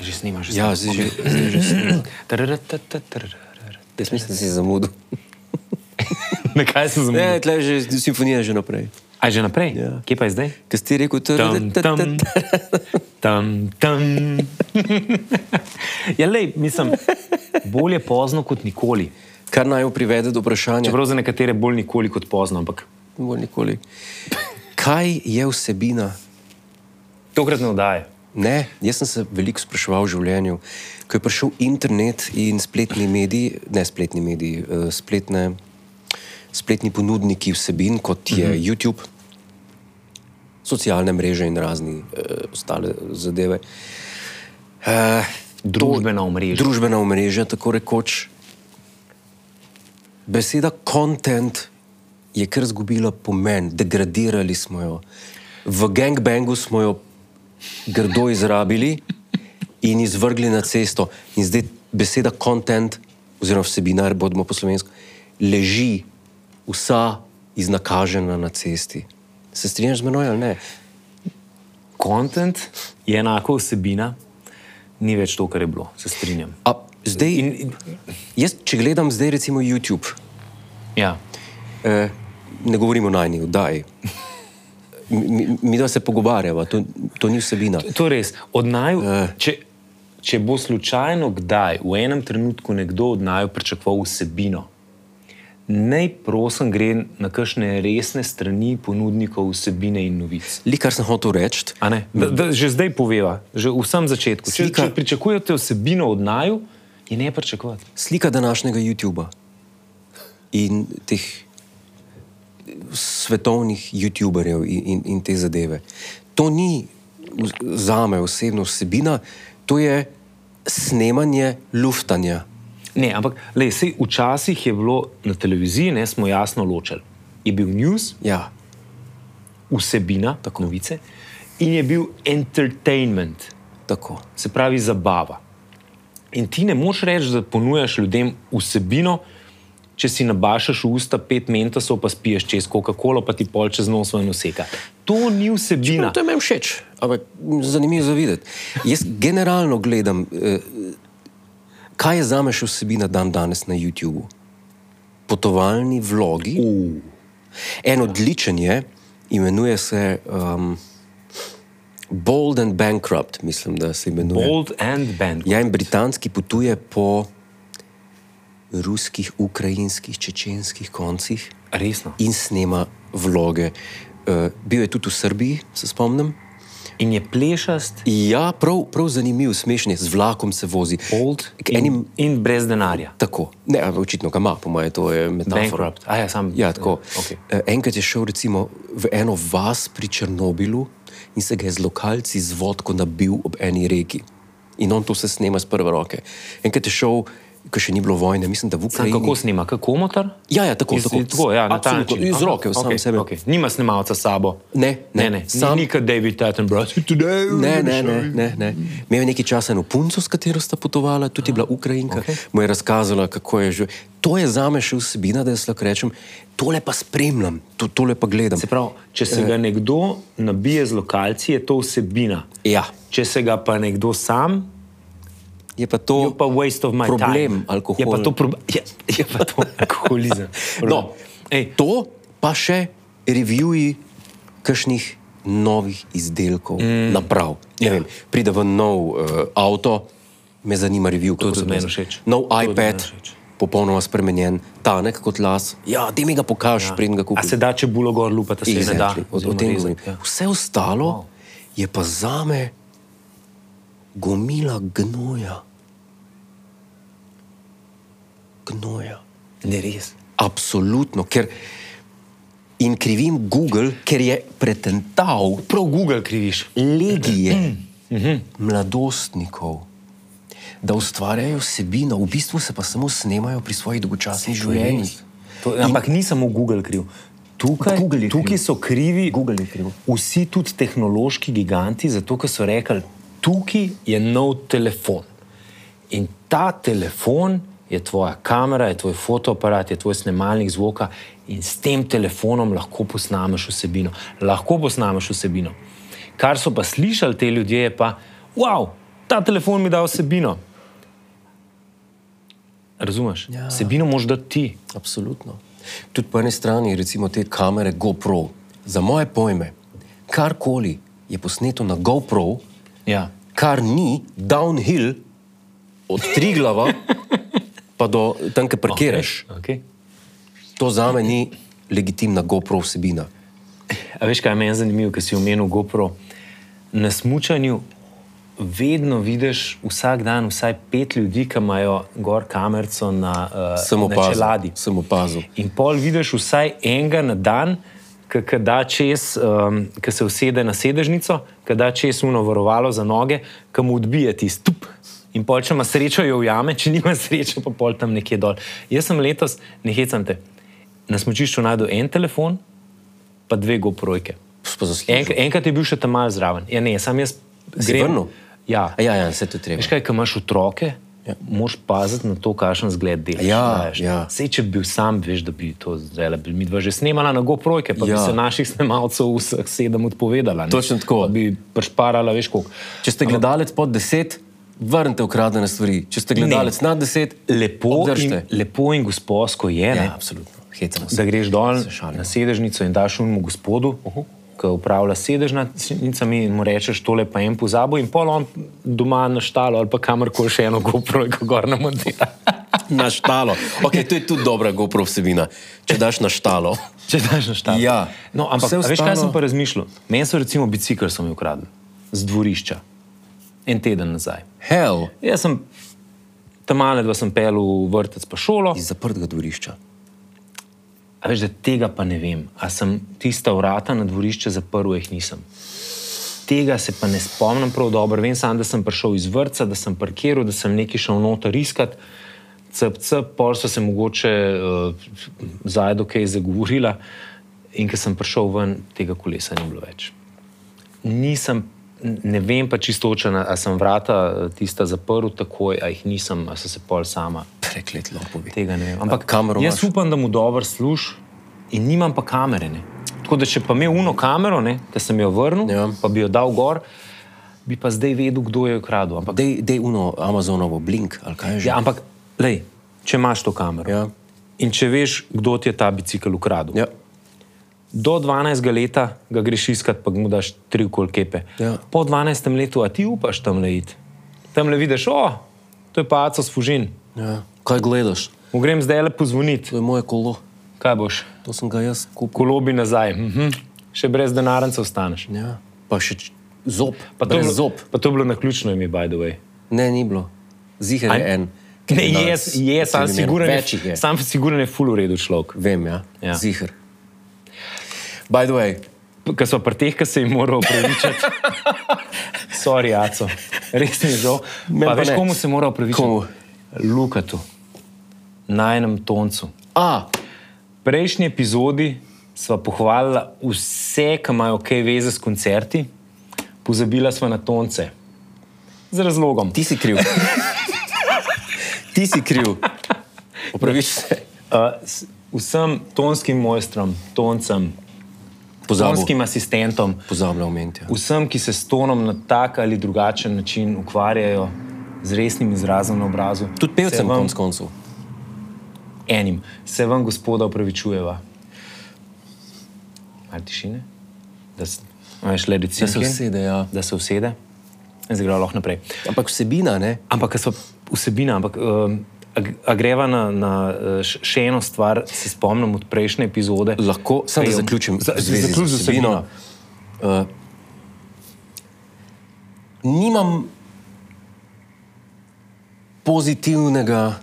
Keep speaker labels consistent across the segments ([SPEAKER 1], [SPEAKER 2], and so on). [SPEAKER 1] Že snimaš.
[SPEAKER 2] Ja, zdaj že, zdaj že snemam.
[SPEAKER 1] Jaz
[SPEAKER 2] Jaz mislim, da si zamudil.
[SPEAKER 1] Na kaj sem
[SPEAKER 2] Ne,
[SPEAKER 1] zamenjal?
[SPEAKER 2] tle je že simfonija je že naprej.
[SPEAKER 1] A že naprej?
[SPEAKER 2] Ja.
[SPEAKER 1] Kje pa je zdaj?
[SPEAKER 2] Kaj si ti rekel, to je
[SPEAKER 1] Tam, tam, tam, tam. Ja, lej, mislim, bolje pozno kot nikoli.
[SPEAKER 2] Kar naj jo privede do vprašanja,
[SPEAKER 1] Čeprav za nekatere bolj nikoli kot pozno, ampak
[SPEAKER 2] ne bo nikoli. Kaj je vsebina?
[SPEAKER 1] tokrat ne vdaje.
[SPEAKER 2] Ne, jaz sem se veliko spraševal v življenju. Ko je prišel internet in spletni mediji, ne spletni mediji, eh, spletne, spletni ponudniki vsebin, kot je mhm. YouTube, socialne mreže in razni eh, ostale zadeve. Eh,
[SPEAKER 1] Družbena omrežja.
[SPEAKER 2] Družbena omrežja, tako rekoč. Beseda content je kar izgubila pomen, degradirali smo jo. V gangbangu smo jo grdo izrabili in izvrgli na cesto. In zdaj beseda content, oziroma vsebina, bodimo po slovensko, leži vsa iznakažena na cesti. Se strinjaš z menoj ali ne?
[SPEAKER 1] Content je enako vsebina, ni več to, kar je bilo, se strinjam.
[SPEAKER 2] A, zdaj,
[SPEAKER 1] In, in,
[SPEAKER 2] in, jaz, če gledam zdaj recimo YouTube,
[SPEAKER 1] ja.
[SPEAKER 2] eh, ne govorimo na eni oddaji. Mi, mi, mi da se pogovarjava, to, to ni vsebina.
[SPEAKER 1] To je res. Od naju,
[SPEAKER 2] Eh.
[SPEAKER 1] če, če bo slučajno kdaj v enem trenutku nekdo od naju pričakoval vsebino, naj prosim gre na kakšne resne strani ponudnikov vsebine in novic.
[SPEAKER 2] Li kar sem hotel reči,
[SPEAKER 1] A ne? Da, da, že zdaj poveva, že v samem začetku. Če, če
[SPEAKER 2] Slika-
[SPEAKER 1] pričakujete vsebino od naju, je ne pričakovati.
[SPEAKER 2] slika današnjega YouTuba in teh svetovnih YouTuberjev in, in, in te zadeve. To ni v- za me osebno vsebina, to je snemanje luftanja.
[SPEAKER 1] Ne, ampak lej, sej, včasih je bilo na televiziji, ne smo jasno ločili. Je bil news,
[SPEAKER 2] Ja,
[SPEAKER 1] vsebina, tako novice, in je bil entertainment.
[SPEAKER 2] tako.
[SPEAKER 1] se pravi zabava. In ti ne moš reči, da ponujaš ljudem vsebino, če si nabašaš v usta pet mentosov, pa spiješ čez Coca-Cola, pa ti pol čez nos ven useka. To ni vsebina.
[SPEAKER 2] No, to je meni všeč, ampak zanimivo je za videti. Jaz generalno gledam, eh, kaj je za me še vsebina dan danes na YouTubu. Potovalni vlogi.
[SPEAKER 1] U,
[SPEAKER 2] En odličen je, imenuje se um, Bold and Bankrupt, mislim, da se imenuje.
[SPEAKER 1] Bold and band.
[SPEAKER 2] Ja, in britanski potuje po ruskih, ukrajinskih, čečenskih koncih
[SPEAKER 1] Resno.
[SPEAKER 2] in snema vloge. Uh, bil je tudi v Srbiji, se spomnim.
[SPEAKER 1] In je plešast,
[SPEAKER 2] Ja, prav, prav zanimiv, smešen je, z vlakom se vozi.
[SPEAKER 1] bold
[SPEAKER 2] K
[SPEAKER 1] in,
[SPEAKER 2] enim,
[SPEAKER 1] in brez denarja.
[SPEAKER 2] tako, ne, ampak očitno ga ima, po mojem, to je metafora.
[SPEAKER 1] Bankrupt. A, ja, sam,
[SPEAKER 2] Ja, tako.
[SPEAKER 1] Okay.
[SPEAKER 2] Eh, Enkrat je šel recimo v eno vas pri Černobilu in se ga je z lokalci z vodko nabil ob eni reki. In on to se snema z prve roke. Enkrat je šel, ko še ni bilo vojne, mislim, da v
[SPEAKER 1] Sam,
[SPEAKER 2] Ukrajini.
[SPEAKER 1] kako snima, kako motor?
[SPEAKER 2] Ja, ja, tako,
[SPEAKER 1] Iz-
[SPEAKER 2] tako.
[SPEAKER 1] tako ja, na ta
[SPEAKER 2] Absolutno,
[SPEAKER 1] način.
[SPEAKER 2] iz
[SPEAKER 1] Aha,
[SPEAKER 2] roke, v sam
[SPEAKER 1] okej,
[SPEAKER 2] sebe.
[SPEAKER 1] okej. Nima snimalca s sabo.
[SPEAKER 2] Ne, ne,
[SPEAKER 1] ne, ne. Sam...
[SPEAKER 2] sam-
[SPEAKER 1] ni nikar David Attenborough. Today we're
[SPEAKER 2] Ne,
[SPEAKER 1] gonna
[SPEAKER 2] ne,
[SPEAKER 1] show
[SPEAKER 2] ne, ne, ne. Imel je nekaj časa eno punco, s katero sta potovala, tudi je bila Ukrajinka, okay. mu je razkazala, kako je že. To je za me še vsebina, da jaz lahko rečem, tole pa spremljam, to, tole pa gledam.
[SPEAKER 1] Se pravi, če se
[SPEAKER 2] Eh.
[SPEAKER 1] ga nekdo nabije z lokalci, je to vsebina.
[SPEAKER 2] Ja,
[SPEAKER 1] Če se ga pa nekdo sam,
[SPEAKER 2] je pa
[SPEAKER 1] je
[SPEAKER 2] to.
[SPEAKER 1] pa waste of my
[SPEAKER 2] problem,
[SPEAKER 1] time.
[SPEAKER 2] alkohol.
[SPEAKER 1] Je pa to, prob je, je pa to alkoholizem.
[SPEAKER 2] No,
[SPEAKER 1] Ej,
[SPEAKER 2] to pa še revjuji kakšnih novih izdelkov, mm. naprav.
[SPEAKER 1] Ja.
[SPEAKER 2] Ne Vem, pride v nov uh, avto, me zanima review. kako
[SPEAKER 1] tudi
[SPEAKER 2] se
[SPEAKER 1] meni
[SPEAKER 2] to-
[SPEAKER 1] všeč.
[SPEAKER 2] Nov
[SPEAKER 1] To je
[SPEAKER 2] iPad,
[SPEAKER 1] meni všeč.
[SPEAKER 2] popolnoma spremenjen, tanek kot las. Ja, ti mi ga pokaži, ja. preden
[SPEAKER 1] a
[SPEAKER 2] ga kupiš.
[SPEAKER 1] se da, če bulo gor lupata, se je ne da.
[SPEAKER 2] Exactly. O, o
[SPEAKER 1] oziroma
[SPEAKER 2] tem
[SPEAKER 1] rezati,
[SPEAKER 2] govorim.
[SPEAKER 1] ja.
[SPEAKER 2] Vse ostalo wow. je pa za me gomila gnoja.
[SPEAKER 1] ja.
[SPEAKER 2] Gnoja.
[SPEAKER 1] Ne res.
[SPEAKER 2] Absolutno. Ker in krivim Google, ker je pretental
[SPEAKER 1] Prav Google kriviš.
[SPEAKER 2] legije
[SPEAKER 1] Mm-hmm.
[SPEAKER 2] mladostnikov, da ustvarjajo vsebino, v bistvu se pa samo snemajo pri svojih dolgočasnih življenjih.
[SPEAKER 1] To, ampak ni samo Google kriv. Tukaj,
[SPEAKER 2] Google je kriv.
[SPEAKER 1] tukaj so krivi
[SPEAKER 2] Google je kriv.
[SPEAKER 1] vsi tudi tehnološki giganti, zato ker so rekli, tukaj je nov telefon. In ta telefon je tvoja kamera, je tvoj fotoaparat, je tvoj snemalnik zvoka in s tem telefonom lahko posnameš vsebino. Lahko posnameš vsebino. Kar so pa slišali te ljudje, je pa, wow, ta telefon mi da vsebino. Razumeš?
[SPEAKER 2] Ja.
[SPEAKER 1] Vsebino moš dati ti.
[SPEAKER 2] Absolutno. Tudi po eni strani, recimo te kamere GoPro, za moje pojme, karkoli je posneto na GoPro,
[SPEAKER 1] Ja.
[SPEAKER 2] kar ni downhill od Triglava pa do tam, kjer parkiraš,
[SPEAKER 1] Okay.
[SPEAKER 2] okay. to za me ni legitimna GoPro vsebina.
[SPEAKER 1] A veš, kaj je meni zanimivo, ker si omenil GoPro. Na smutku vedno vidiš vsak dan vsaj pet ljudi, ki imajo gor kamerico na, uh,
[SPEAKER 2] Sem
[SPEAKER 1] na
[SPEAKER 2] opazil.
[SPEAKER 1] čeladi.
[SPEAKER 2] Sem opazil.
[SPEAKER 1] In pol vidiš vsaj enega na dan, ki da čez, um, ki se usede na sedežnico, ki da čez uno varovalo za noge, ki mu odbije tisti tup. In pol, če ima srečo, jo ujame, če nima sreče, pa pol tam nekje dol. Jaz sem letos, ne hecam te, na smočišču najdel en telefon, pa dve goprojke.
[SPEAKER 2] Pa zaslužil.
[SPEAKER 1] Enk, enkrat je bil še tam malo zraven. Ja, ne, sam jaz
[SPEAKER 2] Si vrnil?
[SPEAKER 1] Ja.
[SPEAKER 2] A Ja, ja, vse to je treba.
[SPEAKER 1] Veš kaj, ko imaš otroke, ja. moraš paziti na to, kakšen zgled delaš.
[SPEAKER 2] Ja,
[SPEAKER 1] daješ.
[SPEAKER 2] ja.
[SPEAKER 1] Sej, če bi bil sam, veš, da bi to zdaj, bi mi dva že snemala na GoProjke, pa ja. bi
[SPEAKER 2] Ja.
[SPEAKER 1] se naših snemalcev vseh sedem odpovedala. ne.
[SPEAKER 2] Točno tako.
[SPEAKER 1] Pa bi prešparala, veš koliko.
[SPEAKER 2] Če ste gledalec pod 10, vrnite ukradene stvari. Če ste gledalec ne. nad 10,
[SPEAKER 1] Lepo in,
[SPEAKER 2] obdržite.
[SPEAKER 1] lepo in gospodsko je, ne,
[SPEAKER 2] Ja, absolutno. Hecamo se.
[SPEAKER 1] da greš dol
[SPEAKER 2] Se šalimo.
[SPEAKER 1] na sedežnico in daš unmu gospodu, uh -huh. ki upravlja s sedežnicami in mu rečeš, tole pa en pozabo in pol on doma naštalo ali pa kamorkoli še eno GoPro, ko gor namontira.
[SPEAKER 2] Naštalo. Okay, to je tudi dobra GoPro vsebina, če daš naštalo.
[SPEAKER 1] Če daš na štart.
[SPEAKER 2] Ja.
[SPEAKER 1] No, ampak
[SPEAKER 2] Vse
[SPEAKER 1] ostalo... veš, kaj
[SPEAKER 2] ostalo-
[SPEAKER 1] sem pa razmišljal? Meni so recimo bicikl so mi ukradli z dvorišča. En teden nazaj.
[SPEAKER 2] Hell,
[SPEAKER 1] Jaz sem tam male dva sem pel v vrtec pa šolo.
[SPEAKER 2] iz zaprtega dvorišča.
[SPEAKER 1] A veš, da tega pa ne vem. A sem tista vrata na dvorišče zaprl, jih nisem. Tega se pa ne spomnim prav dobro. Vem samo, da sem prišel iz vrca, da sem parkiral, da sem nekaj šel noter iskat. CPC, pol so se mogoče uh, zajedno kaj zagovorila, in ko sem prišel ven, tega kolesa ni bilo več. Nisem, n- ne vem pa čisto, če sem vrata eh, tista zaprl takoj, a jih nisem, a so se pol sama
[SPEAKER 2] Preklet lopovi.
[SPEAKER 1] Tega ne vem. Ampak
[SPEAKER 2] A kamero
[SPEAKER 1] Jaz
[SPEAKER 2] imaš?
[SPEAKER 1] upam, da mu dobro služi in nimam pa kamere. Ne. Tako da, če pa imel uno kamero, ki sem jo vrnil, ja.
[SPEAKER 2] Ja.
[SPEAKER 1] pa bi jo dal gor, bi pa zdaj vedel, kdo jo je ukradel. Ampak,
[SPEAKER 2] Dej, dej uno Amazonovo blink ali kaj že.
[SPEAKER 1] ja, ampak lej, če imaš to kamero
[SPEAKER 2] Ja.
[SPEAKER 1] in če veš, kdo ti je ta bicikl ukradel,
[SPEAKER 2] ja.
[SPEAKER 1] do 12. leta ga greš iskat, pa mu daš tri kolkepe.
[SPEAKER 2] Ja.
[SPEAKER 1] Po 12. letu, a ti upaš tam le iti. Tam le vidiš, o, to je pa aco sfužin.
[SPEAKER 2] ja. Kaj gledaš?
[SPEAKER 1] Mu grem zdaj le pozvoniti,
[SPEAKER 2] To je moje kolo.
[SPEAKER 1] kaj boš.
[SPEAKER 2] To sem ga jaz kupil.
[SPEAKER 1] kolobi nazaj, mhm. še brez denarnice ostaneš.
[SPEAKER 2] Ja. Pa še č- zob.
[SPEAKER 1] Pa to, je
[SPEAKER 2] Brez
[SPEAKER 1] bilo,
[SPEAKER 2] zob.
[SPEAKER 1] pa to je bilo na ključno ime, by the way.
[SPEAKER 2] Ne, ni bilo. Zihar je
[SPEAKER 1] Aj.
[SPEAKER 2] en. ki
[SPEAKER 1] Ne,
[SPEAKER 2] je
[SPEAKER 1] je,
[SPEAKER 2] danes
[SPEAKER 1] je sam
[SPEAKER 2] vsem imenu.
[SPEAKER 1] siguren,
[SPEAKER 2] Več jih
[SPEAKER 1] je,
[SPEAKER 2] je.
[SPEAKER 1] sam siguren je full uredu človek.
[SPEAKER 2] Vem, ja.
[SPEAKER 1] Ja.
[SPEAKER 2] ja. Zihar. By the way,
[SPEAKER 1] Ker so pri teh, ki se jim morajo opravičiti. Sorry, Aco, res mi je žal.
[SPEAKER 2] Meni
[SPEAKER 1] Pa
[SPEAKER 2] pa
[SPEAKER 1] veš,
[SPEAKER 2] ne.
[SPEAKER 1] komu se mora opravičiti?
[SPEAKER 2] Komu?
[SPEAKER 1] Lukatu, najnem toncu.
[SPEAKER 2] a,
[SPEAKER 1] prejšnji epizodi sva pohvalila vse, ki imajo kaj veze s koncerti, pozabila sva na tonce. Z razlogom.
[SPEAKER 2] ti si kriv. ti si kriv. Opraviš se.
[SPEAKER 1] Uh, s- vsem tonskim mojstrom, toncem,
[SPEAKER 2] Pozabil.
[SPEAKER 1] tonskim asistentom,
[SPEAKER 2] Pozabljal omeniti. ja.
[SPEAKER 1] vsem, ki se s tonom na tak ali drugačen način ukvarjajo, z resnim izrazom na obrazu.
[SPEAKER 2] Tudi
[SPEAKER 1] se
[SPEAKER 2] pevcem,
[SPEAKER 1] vam,
[SPEAKER 2] konc koncev.
[SPEAKER 1] enim, se vam, gospoda, opravičujeva. Ali tišine? Da se, a veš, le
[SPEAKER 2] Da se usede, ja.
[SPEAKER 1] da se usede in zdaj gre lahko naprej.
[SPEAKER 2] Ampak vsebina, ne?
[SPEAKER 1] Ampak, ker so vsebina, ampak um, agreva na, na eh, š- še eno stvar, se spomnim od prejšnje epizode.
[SPEAKER 2] Lahko, samo da
[SPEAKER 1] Ej,
[SPEAKER 2] zaključim.
[SPEAKER 1] za-
[SPEAKER 2] v zvezi z
[SPEAKER 1] zaključ z vsebino.
[SPEAKER 2] Uh, nimam pozitivnega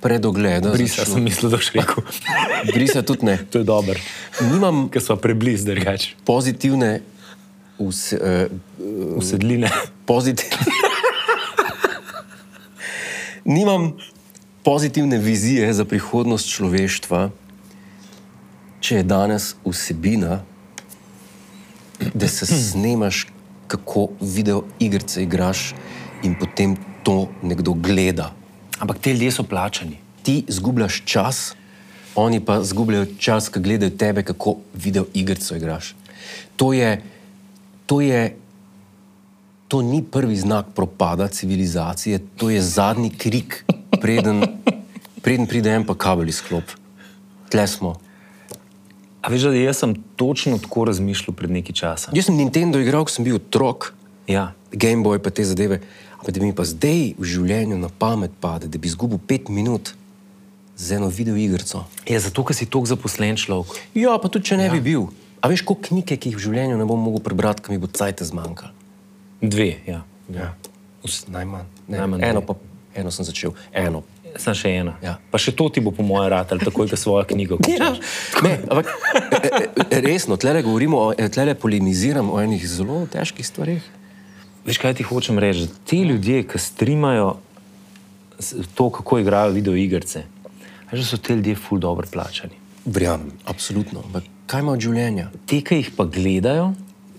[SPEAKER 2] predogleda. za
[SPEAKER 1] Brisa sem mislil, da boš rekel.
[SPEAKER 2] človeka. Brisa tudi ne.
[SPEAKER 1] to je dobro,
[SPEAKER 2] Nimam
[SPEAKER 1] ker so preblizu drugače.
[SPEAKER 2] pozitivne vse, uh,
[SPEAKER 1] Usedline.
[SPEAKER 2] pozitivne. Nimam pozitivne vizije za prihodnost človeštva, če je danes vsebina, da se snemaš, kako video igrice igraš, in potem to nekdo gleda.
[SPEAKER 1] Ampak te ljudje so plačani.
[SPEAKER 2] Ti zgubljaš čas, oni pa zgubljajo čas, ki gledajo tebe, kako video igrico igraš. To je, to je, to ni prvi znak propada civilizacije, to je zadnji krik, preden, preden pride en pa kabel izklop. Tle smo.
[SPEAKER 1] A veš, da jaz sem točno tako razmišljal pred nekaj časa.
[SPEAKER 2] Jaz sem Nintendo igral, ko sem bil otrok,
[SPEAKER 1] Ja.
[SPEAKER 2] Game Boy pa te zadeve. Ampak da bi mi pa zdaj v življenju na pamet pade, da bi izgubil pet minut z eno videoigrico.
[SPEAKER 1] Je Ja, zato, ker si tako zaposlen človek.
[SPEAKER 2] Ja, pa tudi če ne ja. bi bil. A veš, koliko knjig je, ki jih v življenju ne bom mogel prebrati, ki mi bo cajt zmanjkalo?
[SPEAKER 1] Dve, ja.
[SPEAKER 2] Ja. Najmanj. Ne,
[SPEAKER 1] Najmanj
[SPEAKER 2] eno,
[SPEAKER 1] dve.
[SPEAKER 2] pa, eno sem začel, eno.
[SPEAKER 1] Sem še ena.
[SPEAKER 2] Ja.
[SPEAKER 1] Pa še to ti bo, po mojem, ratelj, takoj, ko svojo knjigo končaš.
[SPEAKER 2] Ne, ampak e, e, resno, tle govorimo, tle polemiziram o enih zelo težkih stvarih.
[SPEAKER 1] Veš, kaj ti hočem reči? Da Ti ljudje, ki streamajo s- to, kako igrajo videoigrice, že so ti ljudje ful dobro plačani.
[SPEAKER 2] Verjamem, absolutno. Ampak kaj ima od življenja?
[SPEAKER 1] Te, ki jih pa gledajo,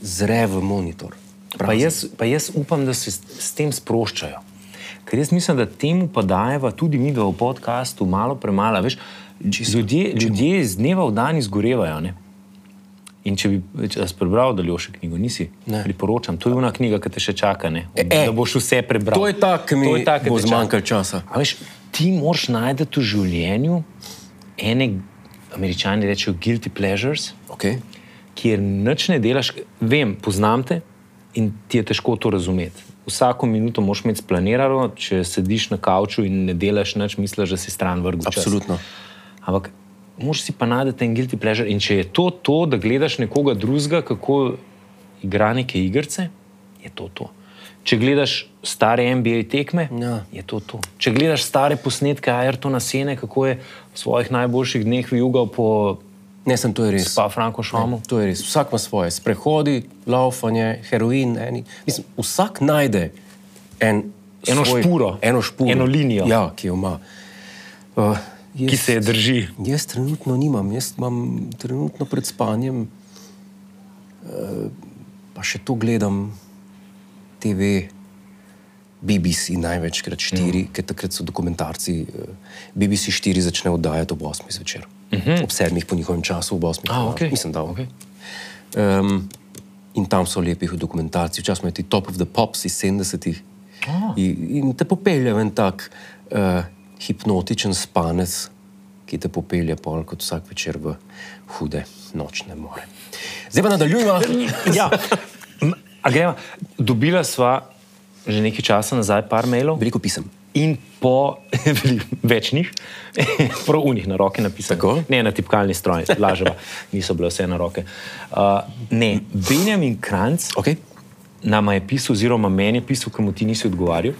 [SPEAKER 2] Zre v monitor.
[SPEAKER 1] pa jaz, pa jaz upam, da se s, s tem sproščajo. Ker jaz mislim, da temu pa dajeva tudi mi v podkastu malo premalo. Veš, ljudje, ljudje iz dneva v dan izgorevajo. Ne? In če bi če jaz prebral, da ljoši knjigo, nisi.
[SPEAKER 2] Ne.
[SPEAKER 1] Priporočam, to je ena knjiga, ki te še čaka. Ne?
[SPEAKER 2] e.
[SPEAKER 1] Da boš vse prebral.
[SPEAKER 2] To je ta, ki mi
[SPEAKER 1] To je ta, ki
[SPEAKER 2] bo
[SPEAKER 1] te čaka.
[SPEAKER 2] zmanjkalo časa.
[SPEAKER 1] A veš, ti moraš najti v življenju ene, američani rečejo, guilty pleasures,
[SPEAKER 2] Okay.
[SPEAKER 1] kjer nič ne delaš. Vem, poznam te in ti je težko to razumeti. Vsako minuto moraš imeti splanirano, če sediš na kavču in ne delaš nič, misliš, da si stran vrgel. čas.
[SPEAKER 2] Absolutno.
[SPEAKER 1] Ampak moraš si pa najti en guilty pleasure. In če je to to, da gledaš nekoga drugega, kako igra neke igrice, je to to. Če gledaš stare NBA tekme,
[SPEAKER 2] Ja.
[SPEAKER 1] je to to. Če gledaš stare posnetke Ayrtona Sene, kako je v svojih najboljših dneh vijugal po
[SPEAKER 2] Ne, sem to je res.
[SPEAKER 1] pa Franko Švamu.
[SPEAKER 2] No, To je res. Vsak ima svoje, sprehodi, laufanje, heroin. Eni. Mislim, vsak najde en
[SPEAKER 1] Eno
[SPEAKER 2] svoj,
[SPEAKER 1] špuro.
[SPEAKER 2] eno špuro,
[SPEAKER 1] Eno linijo.
[SPEAKER 2] Ja, ki jo ima. Uh, jaz,
[SPEAKER 1] Ki se je drži.
[SPEAKER 2] Jaz trenutno nimam, jaz imam trenutno pred spanjem, uh, pa še to gledam, TV, BBC največkrat štiri,
[SPEAKER 1] Mhm.
[SPEAKER 2] mm. ker takrat so dokumentarci. eh, BBC štiri začne oddajati ob 8 zvečer, mm -hmm. ob 7 po njihovem času, ob 8.
[SPEAKER 1] Mhm. A, okej.
[SPEAKER 2] Mislim, da
[SPEAKER 1] Okej.
[SPEAKER 2] Um, in tam so lepi dokumentarci, včasih imajo ti Top of the Pops iz 70-ih.
[SPEAKER 1] Ah.
[SPEAKER 2] In, in te popelje v en tak uh, hipnotičen spanec, ki te popelje pol kot vsak večer v hude nočne more. Zdaj pa nadaljujemo.
[SPEAKER 1] Ja. M, A greva, dobila sva že nekaj časa nazaj par mailov.
[SPEAKER 2] Veliko pisem.
[SPEAKER 1] in po večnih, prav unih na roke napisane.
[SPEAKER 2] Tako?
[SPEAKER 1] Ne na tipkalni stroj, laževa, niso bile vse na roke. Uh, ne, Benjamin Kranc
[SPEAKER 2] Okay.
[SPEAKER 1] nam je pisal, oziroma meni je pisal, ker mu ti nisi odgovarjal,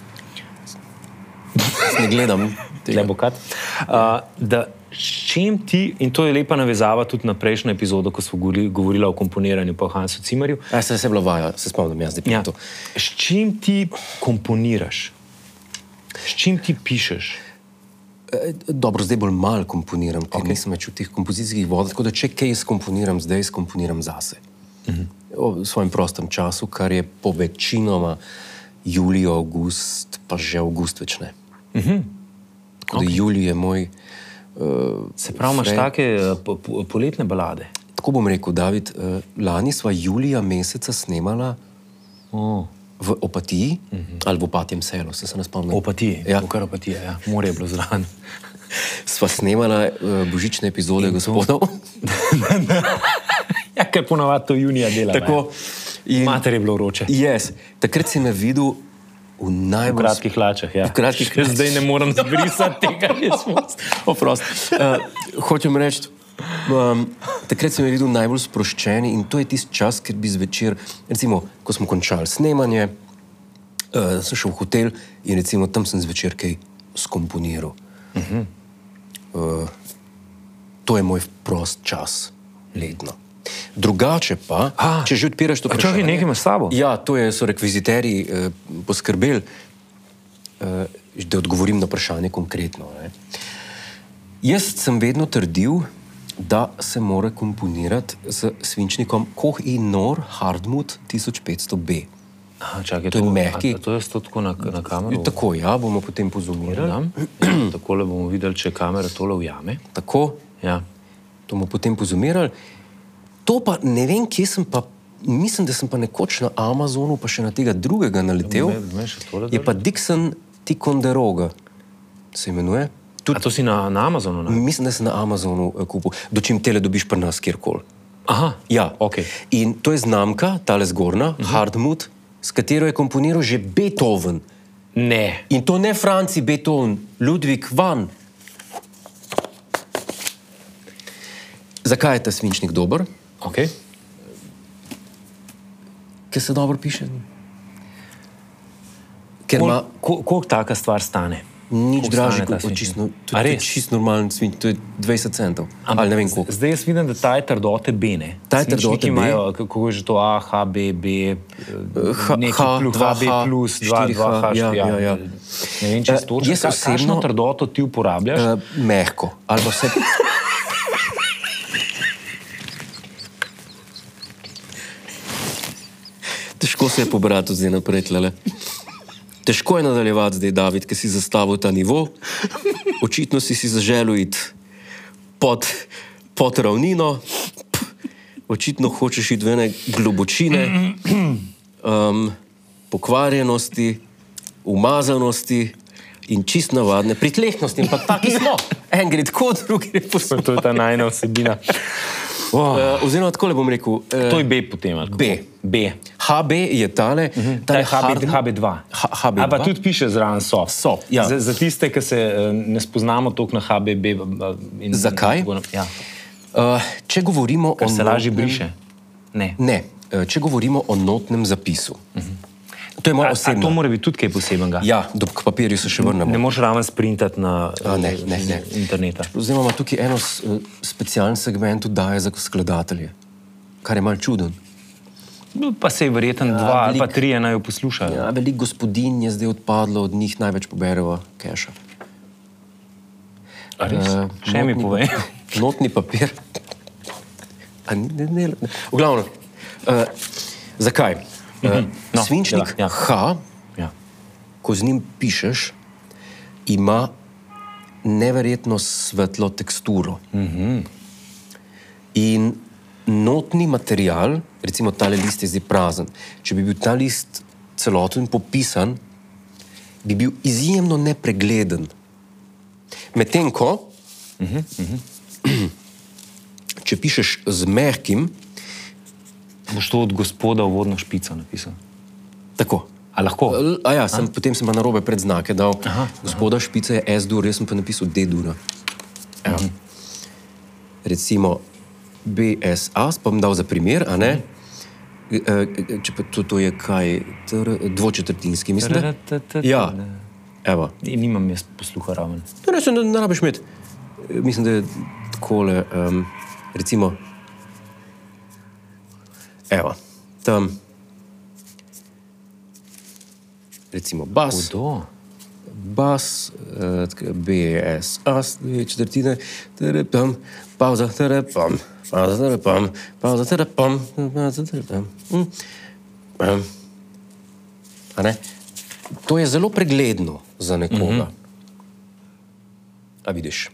[SPEAKER 2] Ne gledam.
[SPEAKER 1] le bo kad. Uh, da s čim ti, in to je lepa navezava tudi na prejšnjo epizodo, ko smo govorili, govorili o komponiranju po Hansu Cimerju.
[SPEAKER 2] A, se, se blavaja, se spomnim, jaz zdaj pijem
[SPEAKER 1] Ja,
[SPEAKER 2] ja. to.
[SPEAKER 1] s čim ti komponiraš, s čim ti pišeš?
[SPEAKER 2] E, Dobro, zdaj bolj malo komponiram, ker okay. nisem več v teh kompozicijskih vodah. Tako da, če kaj skomponiram, zdaj skomponiram zase. Mhm. V svojem prostem času, kar je po večinoma julij, avgust, pa že avgust več ne. Mhm. Tako okay. da julij je moj. eh,
[SPEAKER 1] Se pravi, imaš
[SPEAKER 2] Frej.
[SPEAKER 1] take eh, po- po- poletne balade.
[SPEAKER 2] Tako bom rekel, David, eh, lani sva julija meseca snemala
[SPEAKER 1] Oh.
[SPEAKER 2] v Opatiji mhm. ali v Opatjem selu, se, se ne spomnim.
[SPEAKER 1] Opatije,
[SPEAKER 2] Ja.
[SPEAKER 1] ja. kar opatije, ja. more je bilo zraven.
[SPEAKER 2] Sva snemala eh, božične epizode gospodov.
[SPEAKER 1] Ja, ker ponavadi to junija dela.
[SPEAKER 2] Tako.
[SPEAKER 1] In... Mater je bilo vroče.
[SPEAKER 2] Yes. Takrat si me videl v
[SPEAKER 1] V
[SPEAKER 2] najbolj
[SPEAKER 1] kratkih hlačah, ja.
[SPEAKER 2] V kratkih
[SPEAKER 1] Še Zdaj ne morem zbrisati tega, jaz smo.
[SPEAKER 2] Oprosti. Uh, hočem reči, um, takrat sem videl najbolj sproščeni in to je tisti čas, ker bi zvečer, recimo, ko smo končali snemanje, uh, sem šel v hotel in recimo tam sem zvečer kaj skomponiral. Uh
[SPEAKER 1] Mhm.
[SPEAKER 2] -huh. uh, to je moj prost čas, letno. Drugače pa,
[SPEAKER 1] A,
[SPEAKER 2] če že odpiraš to
[SPEAKER 1] a čakaj,
[SPEAKER 2] vprašanje-
[SPEAKER 1] nekaj imaš s sabo?
[SPEAKER 2] Ja, to je, so rekviziterji eh, poskrbeli, eh, da odgovorim na vprašanje konkretno. Ne. Jaz sem vedno trdil, da se mora komponirati s svinčnikom Koh in Nor Hardmut 1500B.
[SPEAKER 1] Aha, čakaj,
[SPEAKER 2] To je
[SPEAKER 1] to- a-
[SPEAKER 2] mehki.
[SPEAKER 1] a To je tako na, na kamero.
[SPEAKER 2] Tako, ja, bomo potem pozumirali.
[SPEAKER 1] Ja, tako le bomo videli, če kamera tole ujame.
[SPEAKER 2] Tako,
[SPEAKER 1] Ja.
[SPEAKER 2] to bomo potem pozumirali. To pa ne vem, kje sem pa, mislim, da sem pa nekoč na Amazonu, pa še na tega drugega naletel.
[SPEAKER 1] Me- me še tole
[SPEAKER 2] Je pa Dixon Ticonderoga, se imenuje.
[SPEAKER 1] A to si na, na Amazonu? Na?
[SPEAKER 2] Mislim, da sem na Amazonu eh, kupil, dočim tele dobiš pri nas kjerkoli.
[SPEAKER 1] Aha,
[SPEAKER 2] Ja.
[SPEAKER 1] Okej.
[SPEAKER 2] In to je znamka, ta le zgornja, uh -huh. Hardmut, s katero je komponiral že Beethoven.
[SPEAKER 1] ne.
[SPEAKER 2] In to ne Franci Beethoven, Ludvik van. Zakaj je ta svinčnik dober?
[SPEAKER 1] Okay.
[SPEAKER 2] Ker se dobro piše. Ker ima
[SPEAKER 1] Koliko kol, kol taka stvar stane?
[SPEAKER 2] nič
[SPEAKER 1] Koliko
[SPEAKER 2] dražji
[SPEAKER 1] stane ta
[SPEAKER 2] kot pa
[SPEAKER 1] svinčnik?
[SPEAKER 2] čisto. To
[SPEAKER 1] A
[SPEAKER 2] je
[SPEAKER 1] res?
[SPEAKER 2] čisto normalen svinčnik, to je 20 centov. Ali ne vem koliko.
[SPEAKER 1] Zdaj jaz vidim, da ta je trdote B. Ne?
[SPEAKER 2] Ta je
[SPEAKER 1] Svinčniki
[SPEAKER 2] trdote B.
[SPEAKER 1] Imajo, kako je že to A, H, B, B, eh,
[SPEAKER 2] H-
[SPEAKER 1] nekaj
[SPEAKER 2] H,
[SPEAKER 1] plus,
[SPEAKER 2] 2H,
[SPEAKER 1] H, B, plus, 2, 2,
[SPEAKER 2] 4H,
[SPEAKER 1] H,
[SPEAKER 2] ja, ja, ja.
[SPEAKER 1] Ne vem, če
[SPEAKER 2] Eh,
[SPEAKER 1] je točno.
[SPEAKER 2] jaz
[SPEAKER 1] Ka-
[SPEAKER 2] osebno-
[SPEAKER 1] Kakšno trdoto ti uporabljaš?
[SPEAKER 2] Uh, mehko, ali pa vse. Težko se je pobrati zdaj naprej. Tlele. Težko je nadaljevati zdaj, David, ki si zastavil ta nivo. Očitno si si zaželil iti pod, pod ravnino, P. očitno hočeš iti v ene globočine um, pokvarjenosti, umazanosti in čist navadne pritlehnosti. Ampak taki smo, en gre tako, drugi gre po svetu.
[SPEAKER 1] To je ta najna vsebina. Oh,
[SPEAKER 2] Uh, oziroma, tako le bom rekel. Uh,
[SPEAKER 1] to je B potem. ali kako?
[SPEAKER 2] B.
[SPEAKER 1] B.
[SPEAKER 2] HB je tale, uh -huh.
[SPEAKER 1] Ta je HB, HB2.
[SPEAKER 2] H- HB2.
[SPEAKER 1] A pa tudi piše zraven SOP.
[SPEAKER 2] Soft, ja.
[SPEAKER 1] za, za tiste, ki se eh, ne spoznamo toliko na HBB. In,
[SPEAKER 2] Zakaj?
[SPEAKER 1] In, tako na- ja.
[SPEAKER 2] Uh, če govorimo
[SPEAKER 1] Ker
[SPEAKER 2] o
[SPEAKER 1] se lažje
[SPEAKER 2] notnem-
[SPEAKER 1] briše. Ne.
[SPEAKER 2] Ne, eh, če govorimo o notnem zapisu. Uh -huh. To je moja
[SPEAKER 1] Mhm. A, a to
[SPEAKER 2] osebna.
[SPEAKER 1] mora biti tudi kaj posebnega.
[SPEAKER 2] Ja, do k papirju se še vrnemo.
[SPEAKER 1] Ne moreš raven sprintati na
[SPEAKER 2] A, ne,
[SPEAKER 1] eh,
[SPEAKER 2] ne, ne.
[SPEAKER 1] interneta.
[SPEAKER 2] Zdaj imamo tukaj eno s- eh, specialen segment, ki daje za skladatelje, kar je malce čuden.
[SPEAKER 1] No, Pa se je verjetno dva ali pa
[SPEAKER 2] veliko.
[SPEAKER 1] trije naj jo poslušajo.
[SPEAKER 2] Ja, veliko gospodinj je zdaj odpadlo, od njih največ pobereva keša.
[SPEAKER 1] A res?
[SPEAKER 2] Eh,
[SPEAKER 1] Še mi
[SPEAKER 2] notni-
[SPEAKER 1] povej.
[SPEAKER 2] Notni papir. A ni- Ne, ne, ne. V glavnem, uh, zakaj? Uh, no,
[SPEAKER 1] no,
[SPEAKER 2] svinčnik ja,
[SPEAKER 1] ja,
[SPEAKER 2] ja.
[SPEAKER 1] ja.
[SPEAKER 2] H,
[SPEAKER 1] Ja.
[SPEAKER 2] ko z njim pišeš, ima neverjetno svetlo teksturo. Mm -hmm. In notni material, recimo ta list je zdaj prazen. Če bi bil ta list celoten popisan, bi bil izjemno nepregleden. Medtem ko, če pišeš z mehkim,
[SPEAKER 1] Boš to od gospoda v vodno špico napisal.
[SPEAKER 2] tako.
[SPEAKER 1] A lahko?
[SPEAKER 2] L- A ja, sem, potem sem pa na robe predznake dal. Aha, Gospoda aha. Špica je S-dur, jaz sem pa napisal D-dura. Ja. Recimo BSA, pa bom dal za primer, a ne? E, e, Če pa to, to je kaj, tr, dvočetrtinski, mislim. da?
[SPEAKER 1] Tra-ta-ta-ta.
[SPEAKER 2] Ja, evo. No,
[SPEAKER 1] Ni- Nimam jaz posluha raven.
[SPEAKER 2] Ne, ne, se ne, ne rabiš imeti. E, Mislim, da je takole, um, recimo, evo, tam, recimo bas.
[SPEAKER 1] Kdo?
[SPEAKER 2] bas, eh, tako, BS, as, dve četrtine, tere, pam, pauza, tere, pam, pauza, tere, pam, pauza, tere, pam, pauza, tere, pam. Mm. Em. A ne? To je zelo pregledno za nekoga. Mm -hmm. A vidiš?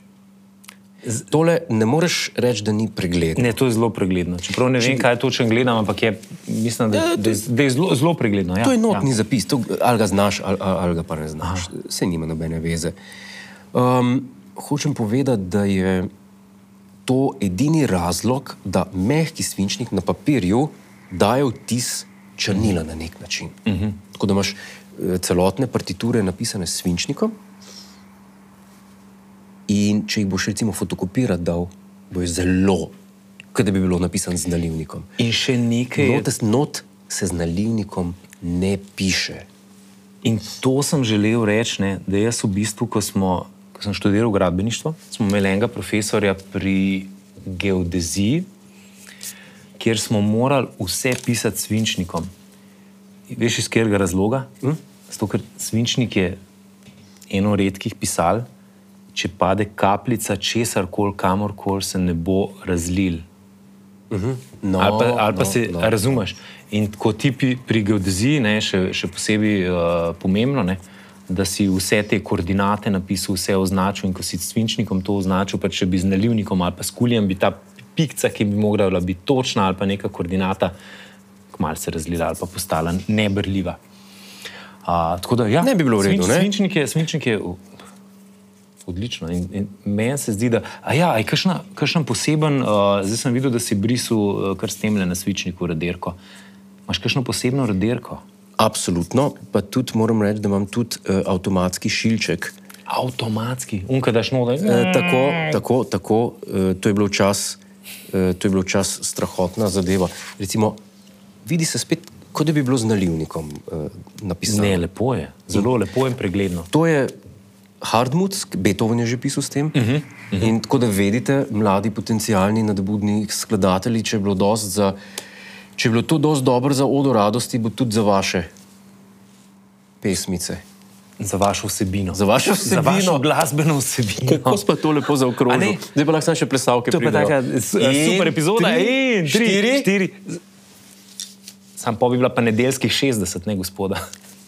[SPEAKER 2] Tole ne moreš reči, da ni pregledno.
[SPEAKER 1] Ne, to je zelo pregledno. Čeprav ne vem, kaj točno gledam, ampak je, mislim, da, da, je- da je zelo, zelo pregledno. Ja,
[SPEAKER 2] Eh, To je
[SPEAKER 1] Ja.
[SPEAKER 2] notni ja. zapis, to, ali ga znaš, ali, ali, ali ga pa ne znaš. Vse nima nobene veze. Um, hočem povedati, da je to edini razlog, da mehki svinčnik na papirju daje vtis črnila na nek način. Uh
[SPEAKER 1] Mhm.
[SPEAKER 2] -huh. Tako da imaš eh, celotne partiture napisane s svinčnikom. In če jih boš recimo fotokopiral, dal, bojo zelo, kot da bi bilo napisano z nalivnikom.
[SPEAKER 1] In še nekaj. je-
[SPEAKER 2] Note, not se z nalivnikom ne piše.
[SPEAKER 1] In to sem želel reči, ne, da jaz v bistvu, ko, smo, ko sem študiral gradbeništvo, smo imeli enega profesorja pri geodeziji, kjer smo morali vse pisati s svinčnikom. Veš iz katerega razloga? Hm? Zato, ker svinčnik je eno redkih pisal, če pade kapljica česar koli, kamor koli se ne bo razlil.
[SPEAKER 2] No,
[SPEAKER 1] ali pa, ali pa
[SPEAKER 2] no,
[SPEAKER 1] no, se
[SPEAKER 2] no.
[SPEAKER 1] no. razumeš. In ko ti pri, pri geodeziji je še, še posebej uh, pomembno, ne, da si vse te koordinate napisal, vse označil. In ko si s svinčnikom to označil, pa če bi z nalivnikom ali pa s kuljem, bi ta pikca, ki bi morala biti točna ali pa neka koordinata, kmalu se razlila ali pa postala nebrljiva. Uh, tako da, ja,
[SPEAKER 2] Ne bi bilo v redu,
[SPEAKER 1] svinč-
[SPEAKER 2] ne?
[SPEAKER 1] Svinčnik je, svinčnik je v- Odlično. In, in meni se zdi, da a ja, a je kakšna- kakšen poseben, uh, zdaj sem videl, da si brisal uh, kar s temle na svičniku raderko. Imáš kakšno posebno raderko?
[SPEAKER 2] Absolutno, pa tudi moram reči, da imam tudi uh, avtomatski šilček.
[SPEAKER 1] Avtomatski, unka daš noge.
[SPEAKER 2] E, tako, tako, tako e, to je bilo čas, e, to je bilo čas strahotna zadeva. Recimo, vidi se spet, kot da bi bilo z nalivnikom e, napisano.
[SPEAKER 1] Ne, lepo je, zelo lepo in pregledno.
[SPEAKER 2] To je Hardmut, Beethoven je že pisal s tem. Uh -huh, uh -huh. In tako da vedite, mladi potencijalni nadbudni skladatelji, če je bilo, dosti za, če je bilo to dosti dobro za odo radosti, bo tudi za vaše pesmice.
[SPEAKER 1] Za vašo vsebino.
[SPEAKER 2] Za vašo
[SPEAKER 1] Za vašo
[SPEAKER 2] vsebino. No.
[SPEAKER 1] glasbeno vsebino.
[SPEAKER 2] Kako smo to lepo
[SPEAKER 1] A ne?
[SPEAKER 2] zaokrožili? Zdaj pa lahko samo še plesalke.
[SPEAKER 1] To je pa
[SPEAKER 2] pridejo.
[SPEAKER 1] taka s-
[SPEAKER 2] In
[SPEAKER 1] super epizoda.
[SPEAKER 2] tri,
[SPEAKER 1] In tri,
[SPEAKER 2] štiri.
[SPEAKER 1] štiri. Sam pa bi bila pa nedeljskih 60, ne gospoda.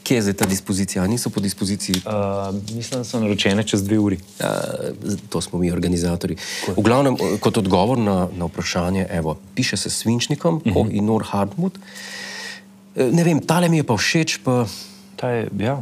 [SPEAKER 2] Kje je zdaj ta dispozicija? A Niso po dispoziciji.
[SPEAKER 1] Uh, mislim, da so naročene čez dve uri.
[SPEAKER 2] Uh, to smo mi, organizatori. V glavnem, eh, kot odgovor na, na vprašanje, evo, piše se s svinčnikom, uh -huh. in nor Hardmut. Eh, Ne vem, tale mi je pa všeč, pa
[SPEAKER 1] Ta je, ja.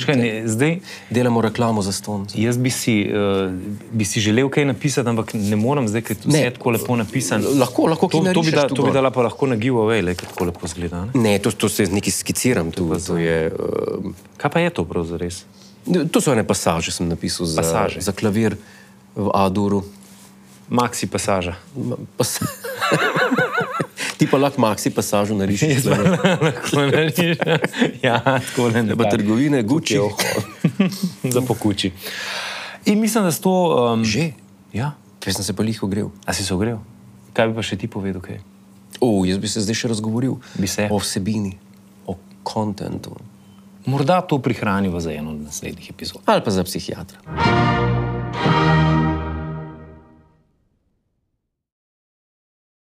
[SPEAKER 1] Čakaj, ne, zdaj,
[SPEAKER 2] delamo reklamo za ston.
[SPEAKER 1] jaz bi si, uh, bi si želel kaj napisati, ampak ne morem zdaj, ker je vse
[SPEAKER 2] Ne.
[SPEAKER 1] tako lepo napisano.
[SPEAKER 2] L- lahko-
[SPEAKER 1] to,
[SPEAKER 2] lahko kaj
[SPEAKER 1] to, bi
[SPEAKER 2] narišeš
[SPEAKER 1] da,
[SPEAKER 2] tu
[SPEAKER 1] to bi
[SPEAKER 2] gor.
[SPEAKER 1] dala pa lahko na giveaway, le, ker tako lepo zgleda. Ne?
[SPEAKER 2] Ne, to, to se nekaj skiciram. To, to, je, uh,
[SPEAKER 1] Kaj pa je to pravzaprav res?
[SPEAKER 2] to so ene pasaže, sem napisal za,
[SPEAKER 1] Pasaže.
[SPEAKER 2] za klavir v Aduru.
[SPEAKER 1] Maxi pasaža.
[SPEAKER 2] Ma- Pas Ti pa lahko maksi pasažo narišeš. tule.
[SPEAKER 1] Lahko narediš. ja, tako ne.
[SPEAKER 2] Ne pa trgovine, Gucci.
[SPEAKER 1] Za pokuči. In mislim, da s to. Um,
[SPEAKER 2] Že?
[SPEAKER 1] Ja.
[SPEAKER 2] Ker sem se pa lih ogrel.
[SPEAKER 1] A si se ogrel? Kaj bi pa še ti povedal? Kaj?
[SPEAKER 2] O, jaz bi se zdaj še razgovoril
[SPEAKER 1] Bi se.
[SPEAKER 2] o vsebini, o kontentu
[SPEAKER 1] Morda to prihraniva za eno od naslednjih epizod.
[SPEAKER 2] ali pa za psihiatra.